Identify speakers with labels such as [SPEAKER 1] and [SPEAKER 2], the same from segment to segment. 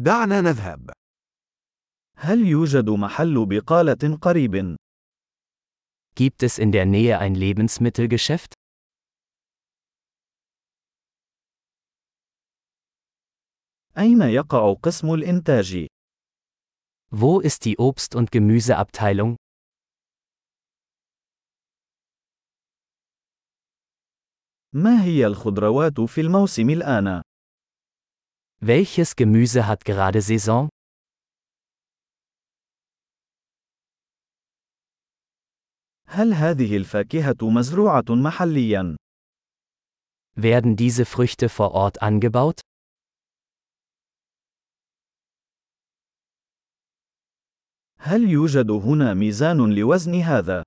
[SPEAKER 1] دعنا نذهب.
[SPEAKER 2] هل يوجد محل بقالة قريب؟
[SPEAKER 3] Gibt es in der Nähe ein Lebensmittelgeschäft?
[SPEAKER 2] أين يقع قسم الإنتاج؟
[SPEAKER 3] Wo ist die Obst- und Gemüseabteilung?
[SPEAKER 2] ما هي الخضروات في الموسم الآن؟
[SPEAKER 3] Welches Gemüse hat gerade Saison?
[SPEAKER 2] هل هذه الفاكهة مزروعة محلياً؟
[SPEAKER 3] Werden diese Früchte vor Ort angebaut?
[SPEAKER 2] هل يوجد هنا ميزان لوزن هذا؟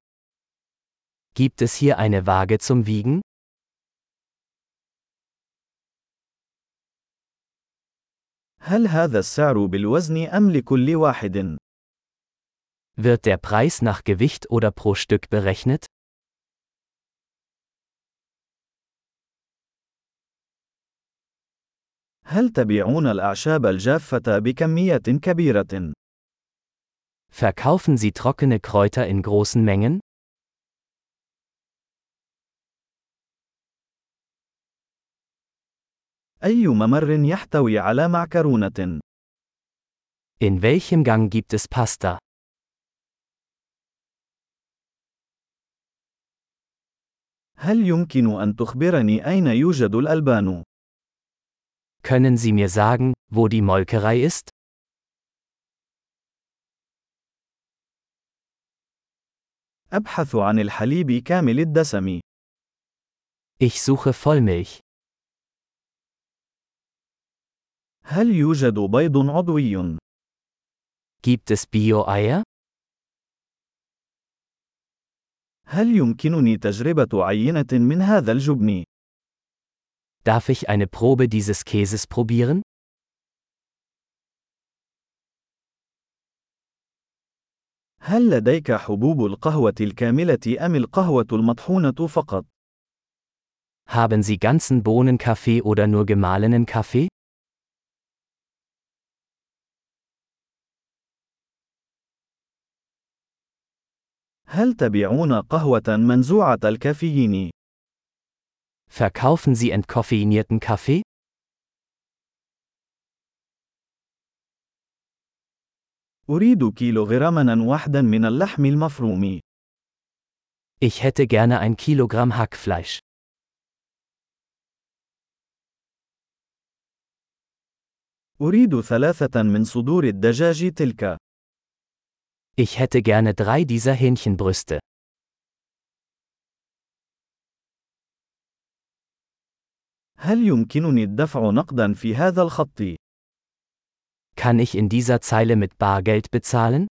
[SPEAKER 3] Gibt es hier eine Waage zum Wiegen?
[SPEAKER 2] هل هذا السعر بالوزن أم لكل واحد؟
[SPEAKER 3] Wird der Preis nach Gewicht oder pro Stück berechnet?
[SPEAKER 2] هل تبيعون الأعشاب الجافة بكمية كبيرة؟
[SPEAKER 3] Verkaufen Sie trockene Kräuter in großen Mengen?
[SPEAKER 2] أي ممر يحتوي على معكرونة؟
[SPEAKER 3] In welchem Gang gibt es Pasta?
[SPEAKER 2] هل يمكن أن تخبرني أين يوجد الألبان؟
[SPEAKER 3] Können Sie mir sagen, wo die Molkerei ist?
[SPEAKER 2] أبحث عن الحليب كامل الدسم.
[SPEAKER 3] Ich suche Vollmilch.
[SPEAKER 2] هل يوجد بيض عضوي؟
[SPEAKER 3] Gibt es Bio-Eier?
[SPEAKER 2] هل يمكنني تجربة عينة من هذا الجبن؟
[SPEAKER 3] Darf ich eine Probe dieses Käses probieren?
[SPEAKER 2] هل لديك حبوب القهوة الكاملة أم القهوة المطحونة فقط؟
[SPEAKER 3] Haben Sie ganzen Bohnenkaffee oder nur gemahlenen Kaffee?
[SPEAKER 2] هل تبيعون قهوة منزوعة الكافيين؟
[SPEAKER 3] Verkaufen Sie entkoffeinierten Kaffee?
[SPEAKER 2] أريد كيلوغراما واحدا من اللحم المفروم.
[SPEAKER 3] Ich hätte gerne ein Kilogramm Hackfleisch.
[SPEAKER 2] أريد ثلاثة من صدور الدجاج تلك.
[SPEAKER 3] Ich hätte gerne drei dieser Hähnchenbrüste.
[SPEAKER 2] هل يمكنني الدفع نقدا في هذا الخط؟
[SPEAKER 3] Kann ich in dieser Zeile mit Bargeld bezahlen?